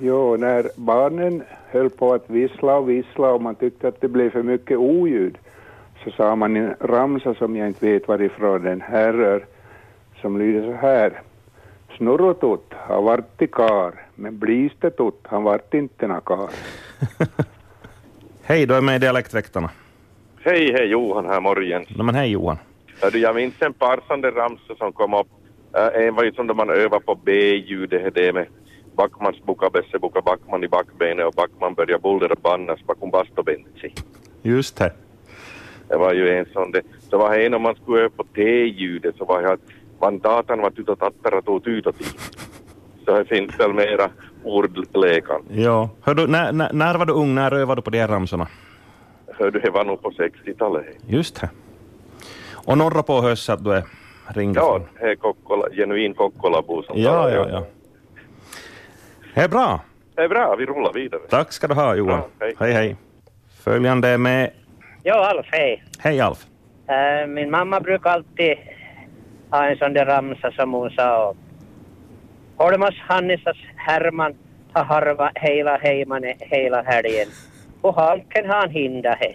Jo, när barnen höll på att vissla och vissla och man tyckte att det blev för mycket oljud så sa man en ramsa som jag inte vet varifrån den härrör som lyder så här. Snurrotott har varit till kar, men Blistetott han vart inte någon kar. Hej, du är med i Dialektväktarna. Hej, hej Johan här morgon. Nej, men hej Johan. Hördu, jag minns en parsande ramsa som kom upp. Äh, en var ju som då man övade på B-ljudet det med Backmans buka Besse buka Backman i backbenet och Backman börjar bullra bannas bakom bastobentsi. Just det. Det var ju en sån det. Så var det en om man skulle öva på T-ljudet så var det att vandatan var typ tytå tattara tog tytå till. Så det finns väl mera ordlekan. Ja. Hör du, när, när, när var du ung? När övade du på de här ramsorna? Hördu, det var nog på 60-talet. Just det. Och norra på höst att du är ringad. Ja, det är Kokkola, genuin Kokkolabo som ja, talar, ja, ja. Det är bra. Det är bra, vi rullar vidare. Tack ska du ha Johan. Ja, hej. hej, hej. Följande är med... Jo, Alf, hej. Hej Alf. Eh, min mamma brukar alltid ha en sån där ramsa som hon sa. Holmas Hannisas Herman har harva hela heimane hela helgen. Och halken har han hinda he.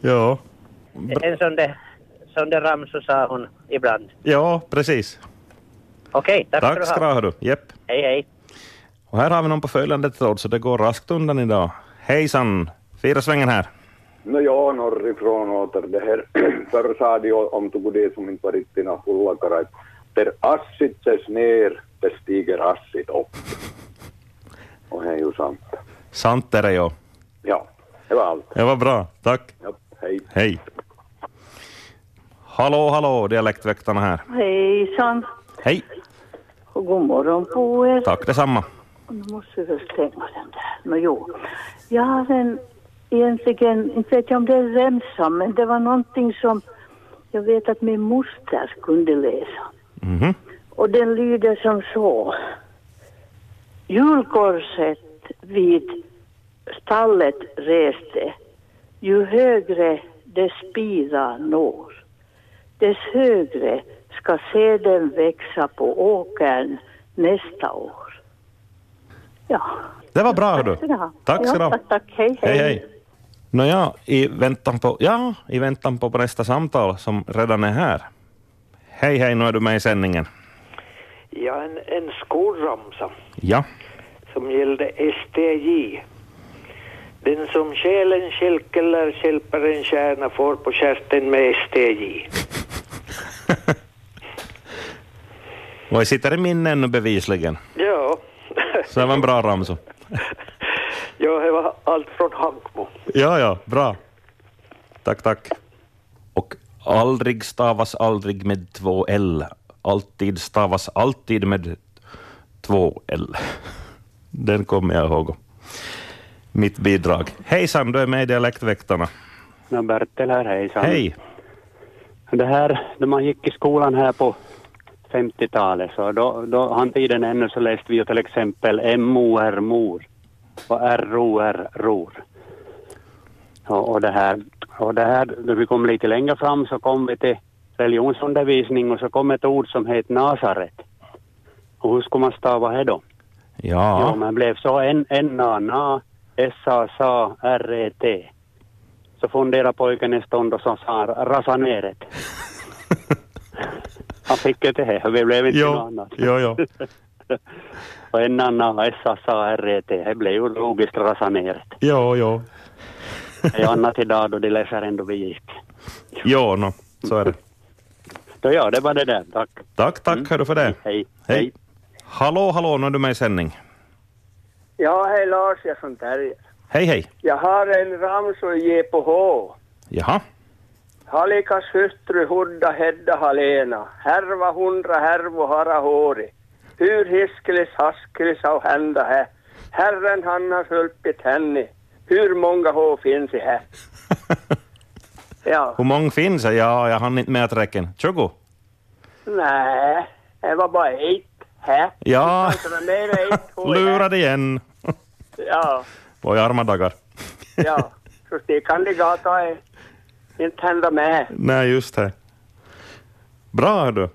Ja. En sån där, sån där ramsa sa hon ibland. Ja, precis. Okej, tack, Tack ska ska du ha. hördu. Jepp. Hej, hej. Och här har vi någon på följande tråd så det går raskt undan idag. Hejsan! Fyra svängen här. No joo, norrifrån åter. Det här, förr sa de ju om Tugudé som inte var riktigt några hullakara, att där assit ses ner, där stiger assit oh. upp. Och det är ju sant. Sant är det ja. Ja, det var allt. Det var bra. Tack. Ja, hej. Hej. Hallå, hallå, dialektväktarna här. Hejsan Hej. och god morgon på er. Tack detsamma. Nu måste vi väl stänga den där. Nå jo. Jag har en, egentligen, inte vet jag om det är remsa, men det var någonting som jag vet att min moster kunde läsa. Mhm. Och den lyder som så. Julkorset vid stallet reste, ju högre dess spira når. Dess högre ska seden växa på åkern nästa år. Ja, Det var bra hördu. ska ni ha. Tack ska du ha. ja, tack, tack. Hej, hej. Hej, hej. Nåja, i väntan på, ja, i väntan på nästa samtal som redan är här. Hej, hej, nu är du med i sändningen. Ja, en, en skolramsa Ja, som gällde STJ. Den som själen stjälkeller stjälper en kärna får på kärsten med STJ. och jag sitter i minne ännu bevisligen. Ja. Så det var en bra ramsa. ja, det var allt från Hankmo. Ja, ja, bra. Tack, tack. Och aldrig stavas aldrig med två L. Alltid stavas alltid med två L. Den kommer jag ihåg. Mitt bidrag. Hejsan, du är med i Dialektväktarna. No, Bertil här, hejsan. Hej. Det här, när man gick i skolan här på 50-talet, så då, då han tiden ännu så läste vi ju till exempel MOR, mor, och ROR, ror. Och, och det här, och det här, när vi kom lite längre fram så kom vi till religionsundervisning och så kom ett ord som heter Nasaret. Och hur ska man stava det då? Jo, Ja, men blev så en, en na, na, sa, sa, r, e, t. Så funderade pojken en stund och så sa han rasa ner det. han fick ju det här, vi blev inte något jo, annat. jo, jo. Och en annan sa, sa, r, e, t. Det blev ju logiskt rasa ner det. Jo, jo. Det är annat idag då de läser ändå vi gick. Jo, no, så är det. Då ja, det var det där. Tack. Mm. Tack, tack hördu för det. Hej. Hej. Hallå, hallå, nu är du med i sändning. Ja, hej Lars, jag från Terje. Hej, hej. Jag har en ramsa att ge på H. Jaha. Halikas hustru Hurda Hedda Halena, härva hundra härvo hara håri. Hur hiskelis haskelis av hända hä. Herren han har hjälpt henne. Hur många H finns i hä? Ja, Hur många finns det? Ja, jag hann inte med att räcka. 20? nej, det var bara ett hä. Ja. Alltså, det är mer än ett H i hä. Lurad igen. Ja, Voi arma dagar. ja. Så stickande gata är inte hända med. Nej, just det. Bra du.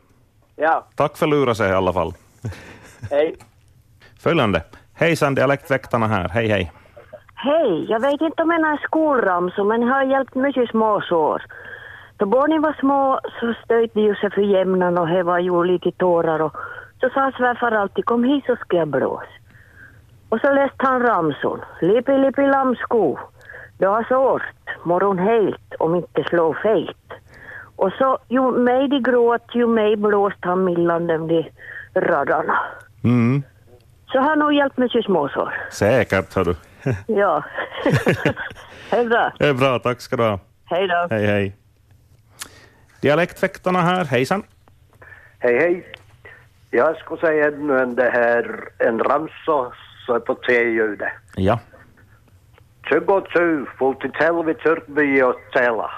Ja, Tack för lura sig i alla fall. hej. följande. Hejsan, dialektväktarna här. Hej, hej. Hej, jag vet inte om jag är skolramsor men jag har hjälpt mycket småsår. Då barnen var små så stöjde ju sig för jämnan och häva ju lite tårar och så sa svärfar alltid kom hit så ska jag blåsa. Och så läste han ramsorn. Lippi lippi lammsko. Dag sort, morgon helt om inte slå fejt. Och så ju mig de gråt ju mig blåst han millan dem de radarna. Mm, Så har nog hjälpt mycket småsår. säkert, hör du. Ja. Hej då. Det är bra, tack ska du ha. Hej då. Hej, hej. Dialektväktarna här, hejsan. Hej hej. Jag ska säga ännu en, det här, en ramsa så är på T-ljudet. Ja. 22 for till helvete Tjörnby och Tela.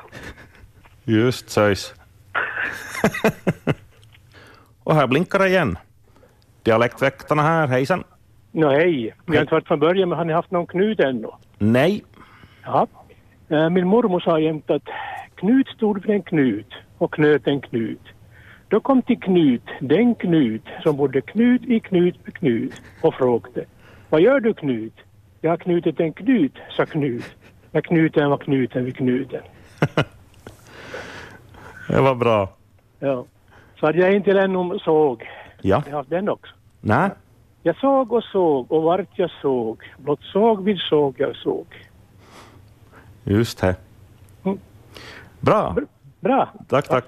Just söjs. Och här blinkar det igen. Dialektväktarna här, hejsan. Nå hej, vi har inte varit från början men har ni haft någon Knut ännu? Nej. Ja. Eh, Min mormor sa jämt att Knut stod för en Knut och knöt en Knut. Då kom till Knut, den Knut som bodde Knut i Knut med Knut och frågade Vad gör du Knut? Jag har knutit en Knut, sa Knut. När knuten var knuten vid knuten. Det var bra. Ja. Så hade jag inte den om såg. Ja. Jag har haft den också. Nej. Jag såg och såg och vart jag såg. Blott såg vid såg jag såg. Just det. Bra. Bra. Tack, tack.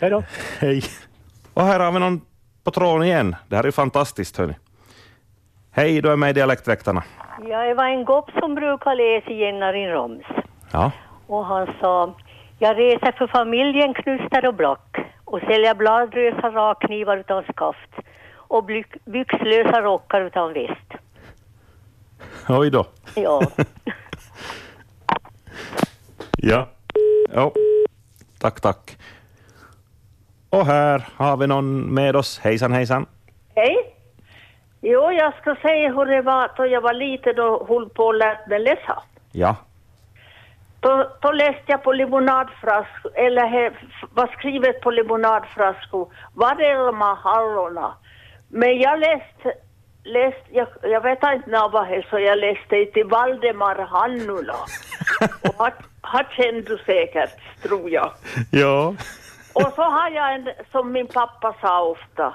Hej då. Hej. Och här har vi någon på tråden igen. Det här är ju fantastiskt, hörni. Hej, du är med i Dialektväktarna. Ja, det var en gopp som brukade läsa Jennarin Roms Ja. och han sa Jag reser för familjen knustar och block och säljer bladlösa rakknivar utan skaft och blyck- byxlösa rockar utan väst. Oj då. Ja, Ja. ja. Tack, tack. Och här har vi någon med oss. Hejsan, hejsan. Hej. Jo, jag ska säga hur det var då jag var liten och höll på och lärt mig läsa. Ja. Då, då läste jag på limonadflaskor, eller he, var skrivet på limonadflaskor, Varelma hallona. Men jag läste, läst, jag, jag vet inte när vad det så jag läste till Valdemar Hannula. Och han- han kände du säkert, tror jag. Ja. Och så har jag en, som min pappa sa ofta,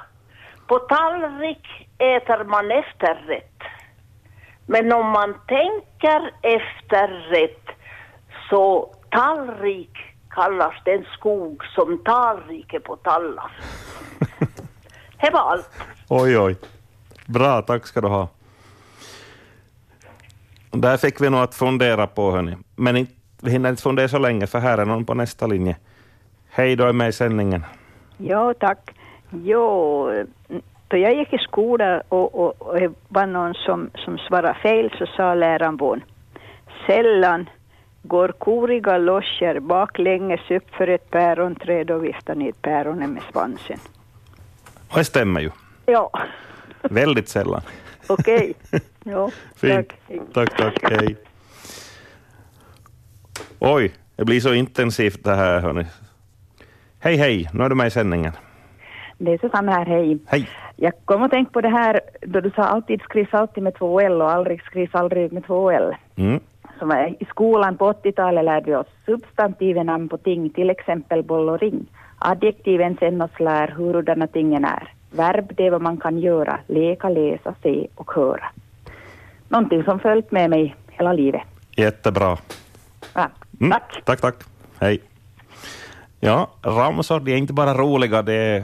på tallrik äter man efterrätt. Men om man tänker efterrätt så tallrik kallas den skog som tallrik är på tallas. Det var allt. Oj, oj. Bra, tack ska du ha. Där fick vi nog att fundera på, hörni. Men inte, vi hinner inte fundera så länge, för här är någon på nästa linje. Hej, du är med i sändningen. Ja, tack. Jo, då jag gick i skolan och, och, och det var någon som, som svarade fel så sa läraren vår, sällan går koriga loger baklänges upp för ett päronträd och viftar ner päronen med svansen. Och det stämmer ju. Ja, Väldigt sällan. okej. Ja, Fint. Tack, tack. Hej. Oj, det blir så intensivt det här, hörni. Hej, hej. Nu är du med i sändningen. Det är Susanne här, hej. Hej. Jag kom att tänka på det här då du sa alltid skrivs alltid med två L och aldrig skrivs aldrig med två L. Mm. Som var- I skolan på 80-talet lärde vi oss substantiven namn på ting, till exempel boll och ring. Adjektiven sen oss lär hurudana tingen är. Verb, det är vad man kan göra, leka, läsa, se och höra. Någonting som följt med mig hela livet. Jättebra. Ja. Mm. Tack. Tack, tack. Hej. Ja, ramsor de är inte bara roliga, det är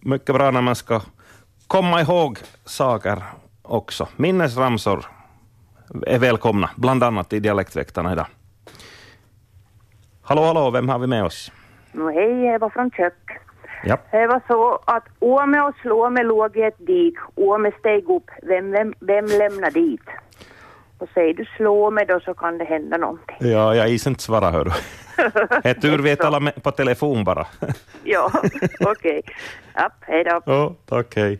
mycket bra när man ska komma ihåg saker också. Minnesramsor är välkomna, bland annat i Dialektväktarna idag. Hallå, hallå, vem har vi med oss? No, hej, Eva från Kök. Ja. Det var så att Åme och Slåme låg i ett dik. Åme steg upp. Vem, vem, vem lämnar dit? Och säger du Slåme då så kan det hända någonting. Ja, jag is inte svara, hör du. Det är tur vet alla med- på telefon bara. ja, okej. Ja, hej då. Ja, tack, hej.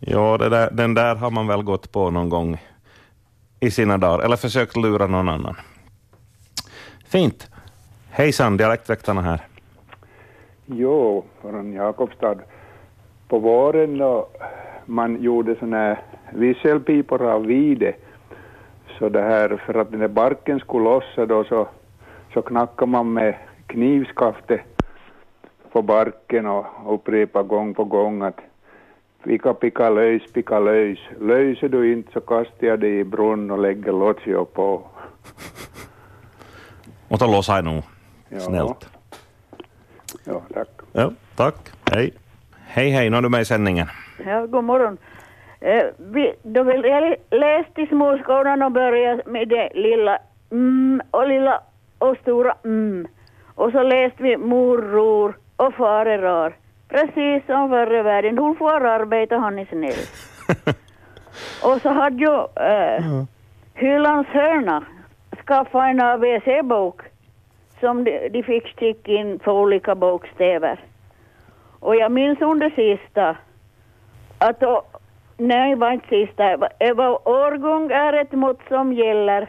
Ja, det där, den där har man väl gått på någon gång i sina dagar, eller försökt lura någon annan. Fint. Hejsan, dialektväktarna här. Jo, från Jakobstad. På våren då man gjorde sån här visselpipor av vide. Så det här, för att den där barken skulle lossa då så, så knackade man med knivskaftet på barken och upprepade gång på gång att pika pika löjs, pika löjs. Löser du inte så kastar jag dig i brunn och lägger lotsio på. Mutta losai nu. Snällt. Ja, tack. Ja, tack. Hej. Hej, hej. Nu är du med i sändningen. Ja, god morgon. Eh, vi, då vi lä- läste i småskolan och började med det lilla mm och lilla och stora mm. Och så läste vi morror och farerar. Precis som förr i världen. Hon får arbeta, han är snäll. och så hade ju eh, Hylands hörna skaffat en ABC-bok som de, de fick sticka in för olika bokstäver. Och jag minns under sista att då, nej, det var inte sista, det var årgång är ett mått som gäller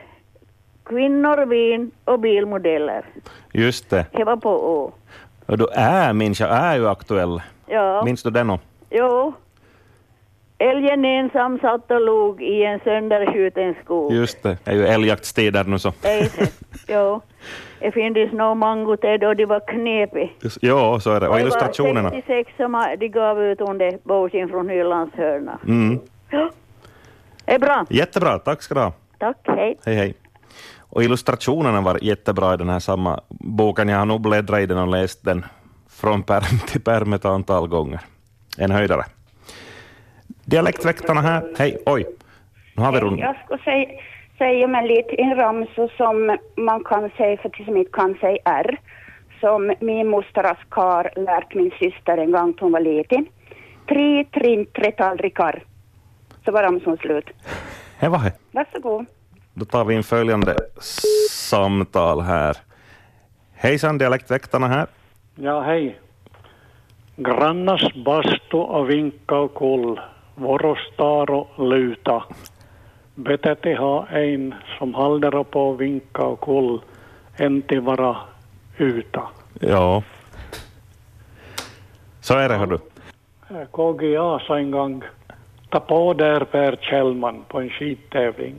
kvinnor, vin och bilmodeller. Just det. Det var på Å. Och då är människa är ju aktuell. Ja, Minns du den? och? jo. Älgen ensam satt och log i en sönderskjuten skog. Just det. Det är ju älgjaktstider nu så. Ej, jo. Det finns nog mango till då de var knepiga. Ja, så är det. Och illustrationerna. Det var 66 som de gav ut under boken från Hylands hörna. Mm. Ja. Det är bra. Jättebra, tack ska du ha. Tack, hej. Hej, hej. Och illustrationerna var jättebra i den här samma boken. Jag har nog bläddrat i den och läst den från pärm till pärm ett antal gånger. En höjdare. Dialektväktarna här. Hej, oj. Nu har vi rund... Jag ska säga, säga mig lite en ramsa som man kan säga för till som inte kan säga är. Som min mostras kar lärt min syster en gång hon var liten. Tre trinn, tre tallrikar. Så var ramsan slut. Hej, vad hej. Varsågod. Då tar vi in följande samtal här. Hejsan, dialektväktarna här. Ja, hej. Grannas bastu och vinka och koll. Vorostaro luta. Betäti ha en som håller på och vinka och koll. En till vara uta. Ja. Så är det, hör du. KG Asa en gång. Ta på där Per Kjellman på en skidtävling.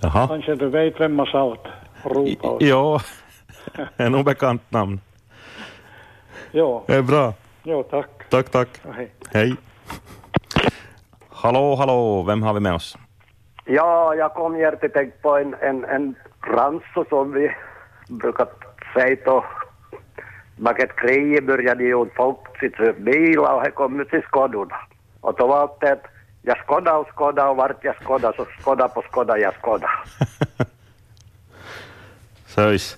Jaha. Kanske du vet vem man sa åt? Ropa åt. Ah. Ja, en obekant namn. Ja. Det är bra. Ja, tack. Tack, tack. Hej. Hej. Hallå, hallå, vem har vi med oss? Ja, jag kom hjärtat tänkt på en, en, en ramsa som vi brukar säga då. Vilket krig började ju folk sitta bilar och här kom ut till skådorna. Och då var det att jag skådade och skådade och vart jag skådade så skådade på skådade jag skådade. Söjs.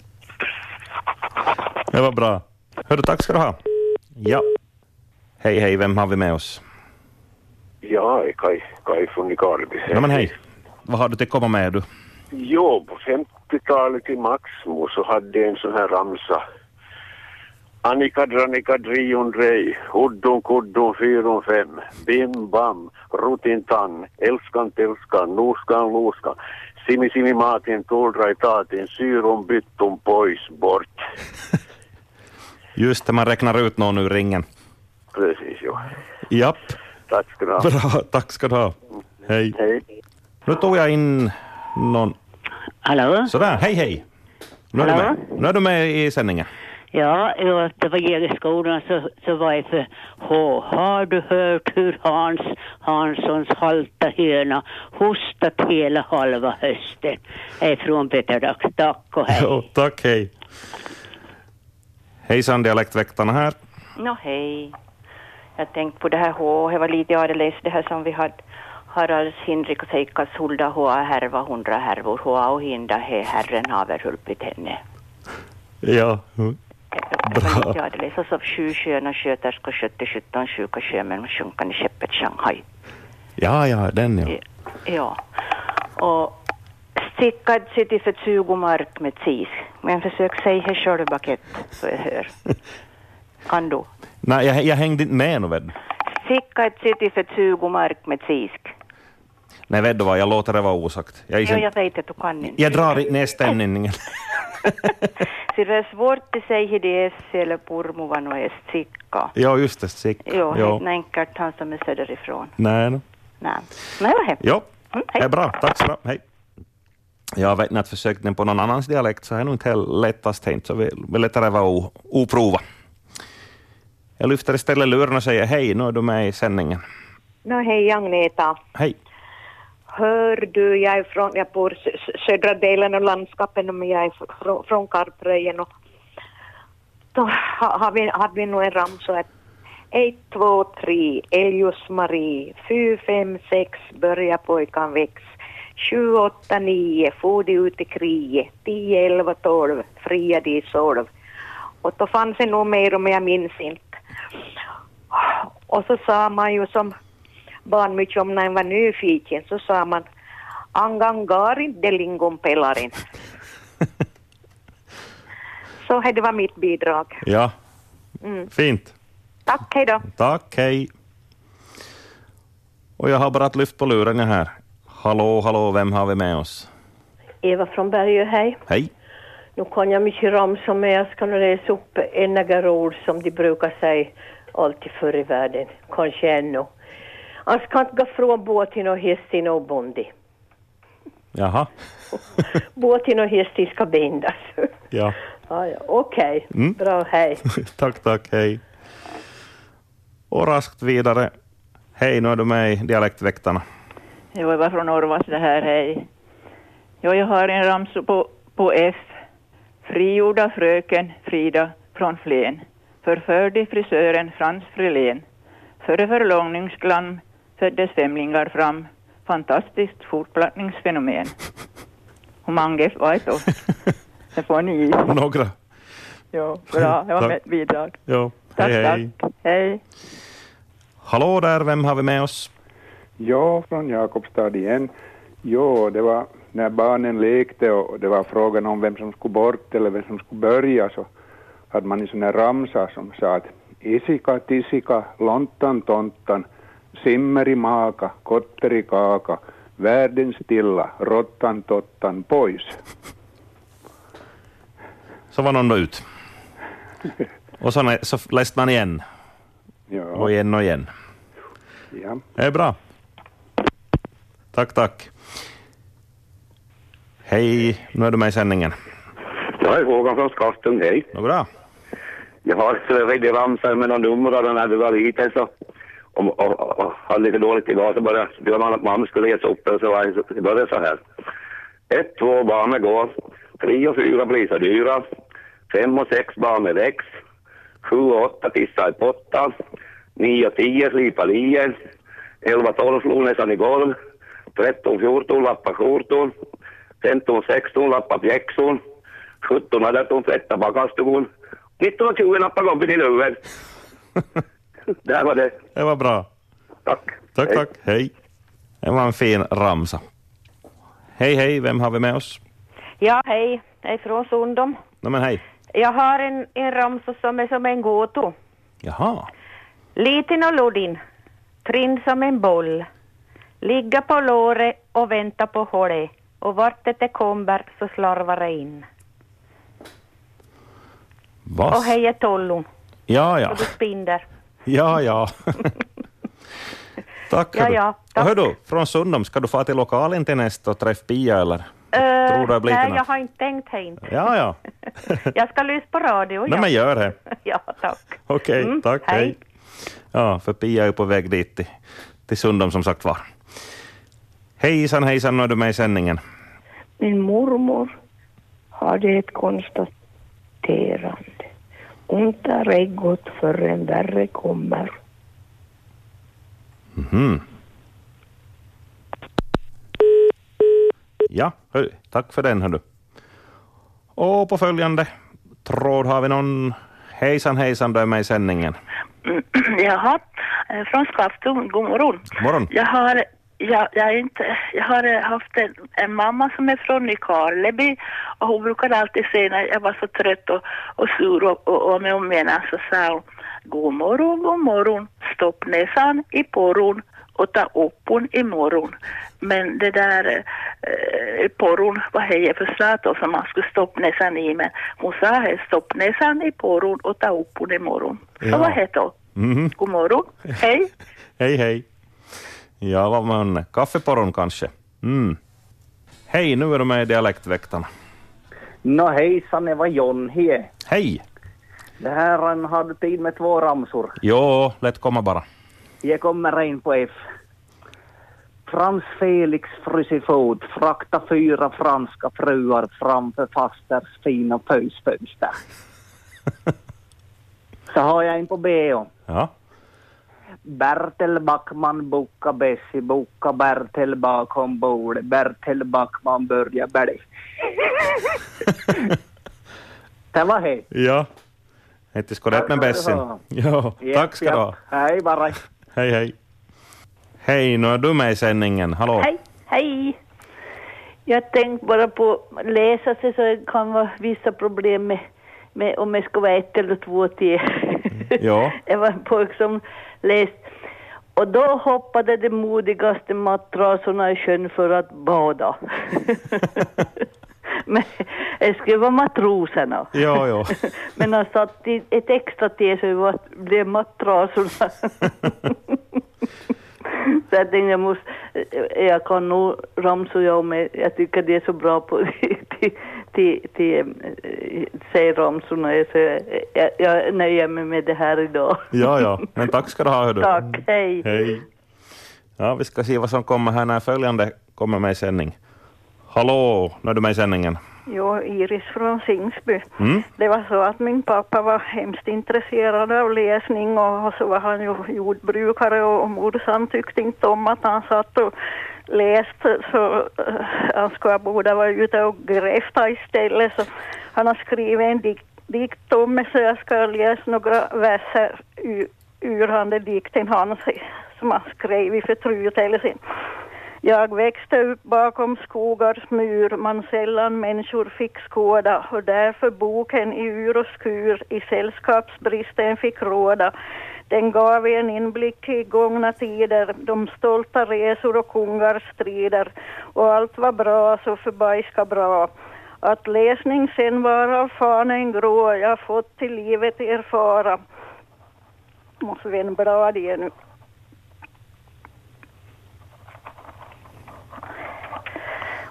Det var bra. Hörru, tack ska du ha. Ja. Hej, hej, vem har vi med oss? Ja, Kai, Kai från Nykarleby. Ja, men hej. Vad har du till komma med du? Jo, på 50-talet i Maxmo så hade jag en sån här ramsa. Annika Dranika Drion Drej, Uddon Kuddon Fyron Fem, Bim Bam, Rutin Tann, Älskan Telskan, Noskan Loskan, Simi Simi Matin, Toldraj Tatin, Syron Bytton Pois Bort. Just det, man räknar ut någon ur ringen. Precis, jo. Japp. Tack ska du ha. Bra, tack ska du ha. Hej. Hej. Nu tog jag in någon. Hallå? Sådär, hej hej. Nu är, du Hallå? med. nu är du med i sändningen. Ja, ja, det var Jägerskolan så, så var jag för H. Har du hört hur Hans Hanssons halta höna hostat hela halva hösten? Jag är från Peter Dack. Tack och hej. Jo, tack, hej. Hejsan, dialektväktarna här. Nå hej. Jag tänkte på det här H, det var lite jag hade läst det här som vi hade Haralds Hinrik och Seikkas Hulda Hoa härva hundra härvor Hoa och hinda he Herren haver hulpit henne. Ja. Det var lite jag hade läst. Och så sju sköna sköterskor skötte sjutton sjuka sjömän med sjunkande skeppet Shanghai. Ja, ja, den ja. Ja. Och stickad sitter för 20 mark med tis. Men försök säga det själv Bakett, så jag hör. Kan du? Nej, jag, jag hängde inte med nu. Ved. Sickad sitter för 20 mark med tis. Nej, ved vad, jag låter det vara osagt. Jag, Ja, isen, jag vet att du kan inte. jag drar i- ner stämningen. Så det är svårt att säga hur det är eller purmuvan och är sikka. Ja, just det, sick. Jo, Ja. helt enkelt han som är söderifrån. Nej, no. Nej, Nej vad hemskt. Ja, det är bra. Tack så mycket. Hej. Jag vet inte, att försökt den på någon annans dialekt så är det nog inte helt lättast tänkt, så vi vi lättare var o- oprova. Jag lyfter istället luren och säger hej, nu är du med i sändningen. Nå, hej Agneta. Hej. Hör du, jag är från, jag bor i s- s- södra delen av landskapet men jag är fr- från, från Karpröjen och då ha- har vi, hade vi nog en ramsa att 1, 2, 3, Eljus-Marie, 4, 5, 6, börja pojkan väx, 7, 8, 9, for de ut i kriget, 10, 11, 12, fria de i solv. Och då fanns det nog mer om jag minns inte. Och så sa man ju som barn mycket om när jag var nyfiken så sa man angangarin de lingonpelarin. så här, det var mitt bidrag. Ja, Mm. fint. Tack, hej då. Tack, hej. Och jag har bara ett lyft på luren jag här. Hallå, hallå, vem har vi med oss? Eva från Bergö, hej. Hej. Nu kan jag mycket ramsa men jag ska nu läsa upp en några ord som de brukar säga alltid förr i världen, kanske ännu. Han ska inte gå från båten och hästen och bondi. Jaha. Båten och hästen ska bindas. Ja. ja, ja. Okej, Mm. bra, hej. tack, tack, hej. Och raskt vidare. Hej, nu är du med i Dialektväktarna. Jo, jag var från Orvas det här, hej. Jo, jag har en ramsa på, på F. Frigjorda fröken Frida från Flen. Förförde frisören Frans Frilén. Före förlångningsglam föddes femlingar fram. Fantastiskt fortplattningsfenomen. Hur många F var det då? Det får ni gissa. Några. Jo, bra. Det var Tack. mitt bidrag. Ja, Tack, hej, hej. tack. Hej. Hallå där, vem har vi med oss? Ja, från Jakobstad igen. Jo, det var när barnen lekte och det var frågan om vem som skulle bort eller vem som skulle börja så hade man en sån här ramsa som sa att isika, tisika, lontan, tontan, simmerimaaka, kotterikaaka, världen stilla, rottan, tottan, pois. Så var någon då ut. Och så, nä- så läste man igen. Och igen och igen. Ja. Det är bra. Tack, tack. Hej, nu är du med i sändningen. Jag är Håkan från Skaften, hej. Nå bra. Jag har väldigt ramsor med några nummer och när du var liten så och, och, och, och hade lite dåligt idag så började bjöd man att mamma skulle läsa upp det så var det så- det började så här. Ett, två banor går. Tre och fyra blir så dyra. Fem och sex banor väx. Sju och åtta tissar i pottan. Nio och tio slipar lier. Elva, tolv slog näsan i golv. Tretton, fjorton lappar skjortor. Femton, sexton lappar pjäxor. Sjutton, arton tvättar bagarstugan. 1920 nappar gubben i luven. Där var det. Det var bra. Tack, tack. Hej. Det var en fin ramsa. Hej, hej, vem har vi med oss? Ja, hej. Jag är från Sundom. Nej, men hej. Jag har en, en ramsa som är som en gåto. Jaha. Liten och luddin, trinn som en boll. Ligga på låret och vänta på hålet. Och vart det det kommer så slarvar det in. Vass. Och hej är tollon, Ja, och ja. du spinner. Ja, ja. tack. Ja, hördu. ja, Och Hör du, från Sundom, ska du få till lokalen till nästa och träffa Pia eller? Eh, Tror du det blir nej, till jag Oh, något? har inte tänkt här inte. Ja, ja. Jag ska lyssna på radio. Nej, men gör det. Ja, tack. Okej, Mm, tack. Hej. hej. Ja, för Pia är ju på väg dit till, till Sundom som sagt var. Hejsan, hejsan, nu är du med i sändningen. Min mormor hade ett konstaterande. Ont är ej gott förrän värre kommer. Mhm. Ja, hör, tack för den. Hör du. Och på följande tråd har vi någon. Hejsan, hejsan, du är med i sändningen. Jaha, eh, från Skaftung, god morgon. Morgon. Jag har, jag, jag, är inte, jag har eh, haft en, en mamma som är från Nykarleby och hon brukade alltid säga när jag var så trött och, och sur och, och, och med om ena så sa hon God morgon, god morgon, stopp näsan i porron och ta uppon i morgon. Men det där eh, eh, porron, vad hejer för slat då som man skulle stoppa näsan i men hon sa här stopp näsan i porron och ta uppon i morgon. Så Ja. vad heter hon? Mhm. God morgon. Hej. Hej, hej. Ja, vad man... Kaffeporron kanske? Mm. Hej, nu är du med i Dialektväktarna. Nå hejsan, det var John här. Hej! Det här en hade tid med två ramsor. Jo, lätt komma bara. Jag kommer in på F. Frans Felix Frysifod frakta fyra franska fruar framför fasters fina pösfönster. Så har jag en på B. Ja. Bertil Backman boka Bessie, boka Bertil bakom bordet. Bertil Backman börjar bälg. Det var hej. Ja. Hette skådet med Bessin. Ja, tack ska du ha. Hej bara. Hej, hej. Hej, nu är du med i sändningen. Hallå? Hej, hej. Jag tänkte bara på läsa sig så det kan vara vissa problem med, med om jag ska vara ett eller två till. Mm, Ja. Det var en pojk som läste. Och då hoppade de modigaste mattrasorna i sjön för att bada. Men det skulle vara matroserna. Ja, ja. Men alltså, han satt i ett extra T så det var- blev mattrasorna. så jag tänkte jag måste, jag kan nog ramsor jag med, jag tycker det är så bra på till, till, till eh, säg ramsorna så jag, jag, jag nöjer mig med det här idag. Ja, ja. Men tack ska du ha, hördu. Tack, hej. Hej. Ja, vi ska se vad som kommer här när följande kommer med i sändning. Hallå, nu är du med i sändningen. Jo, Iris från Singsby. Mm. Det var så att min pappa var hemskt intresserad av läsning och så var han ju jordbrukare och morsan tyckte inte om att han satt och läste så eh, han skulle borde vara ute och gräfta istället. Så han har skrivit en dikt, dikt om mig så jag ska läsa några verser ur, ur han den dikten han som han skrev i förtruet eller sin. Jag växte upp bakom skogars mur man sällan människor fick skåda och därför boken i ur och skur i sällskapsbristen fick råda. Den gav en inblick i gångna tider, de stolta resor och kungars strider och allt var bra så förbajska bra. Att läsning sen var av fanen grå jag fått till livet erfara. Måste vända blad igen nu.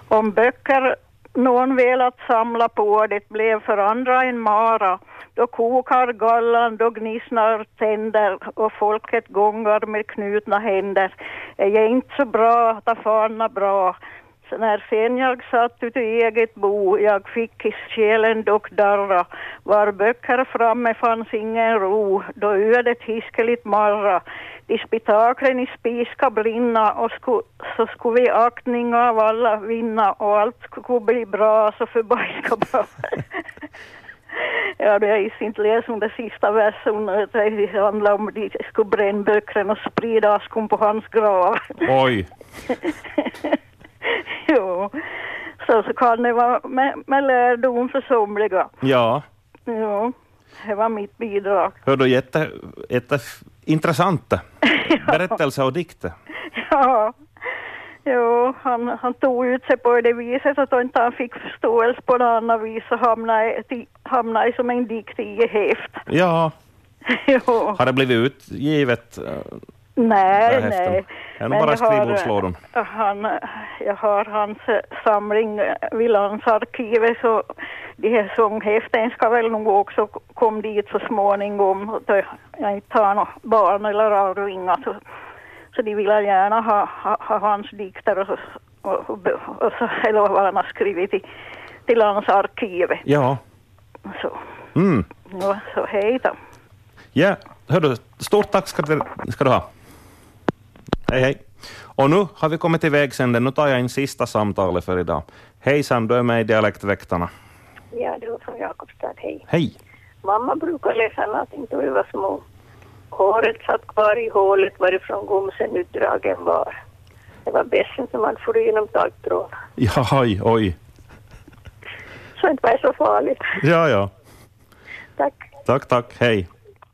Om böcker någon velat samla på, det blev för andra en mara. Då kokar gallan, då gnissnar tänder och folket gångar med knutna händer. Är jag inte så bra, ta fana bra. Så när sen jag satt ute i eget bo, jag fick i själen dock darra. Var böcker framme fanns ingen ro, då ödet hiskeligt marra. I spitaklen i spis ska brinna och sko, så skulle vi aktning av alla vinna och allt skulle bli bra så förbajska bra. ja, det jag is inte läsa om det sista versen, utan det handlar om att de skulle bränna böckerna och sprida askan på hans grav. Oj. jo, så, så kan det vara med, med lärdom för somliga. Ja, Jo, det var mitt bidrag. hördu, jätte, jätte intressanta berättelser och dikter. Ja, jo, han, han tog ut sig på det viset att han inte han fick förståelse på något annat vis och hamnade, i- hamnade som en dikt i häft. Ja, jo, har det blivit utgivet? eh, nej, där häften? nej. Det är nog bara i jag har- eh, skrivbordslådan. Han, jag har hans eh, samling eh, vid landsarkivet så de här sånghäften ska väl nog också k- komma dit så småningom. Då jag inte har några barn eller arvingar så, så de vill gärna ha, ha, ha hans dikter och, och, och, och så, eller vad han har skrivit i, till landsarkivet. Ja. Så, Mm. ja, så hej då. Ja, hördu, stort tack ska, du- ska du ha. Hej, hej. Och nu har vi kommit till vägsänden. Nu tar jag in sista samtalet för idag. Hejsan, du är med i Dialektväktarna. Ja, det var från Jakobstad, hej. Hej. Mamma brukade läsa latin då vi var små. Håret satt kvar i hålet varifrån gomsen utdragen var. Det var bässen som man for igenom taggtråd. Ja, oj, oj. Så det inte var så farligt. Ja, ja. Tack. Tack, tack. Hej.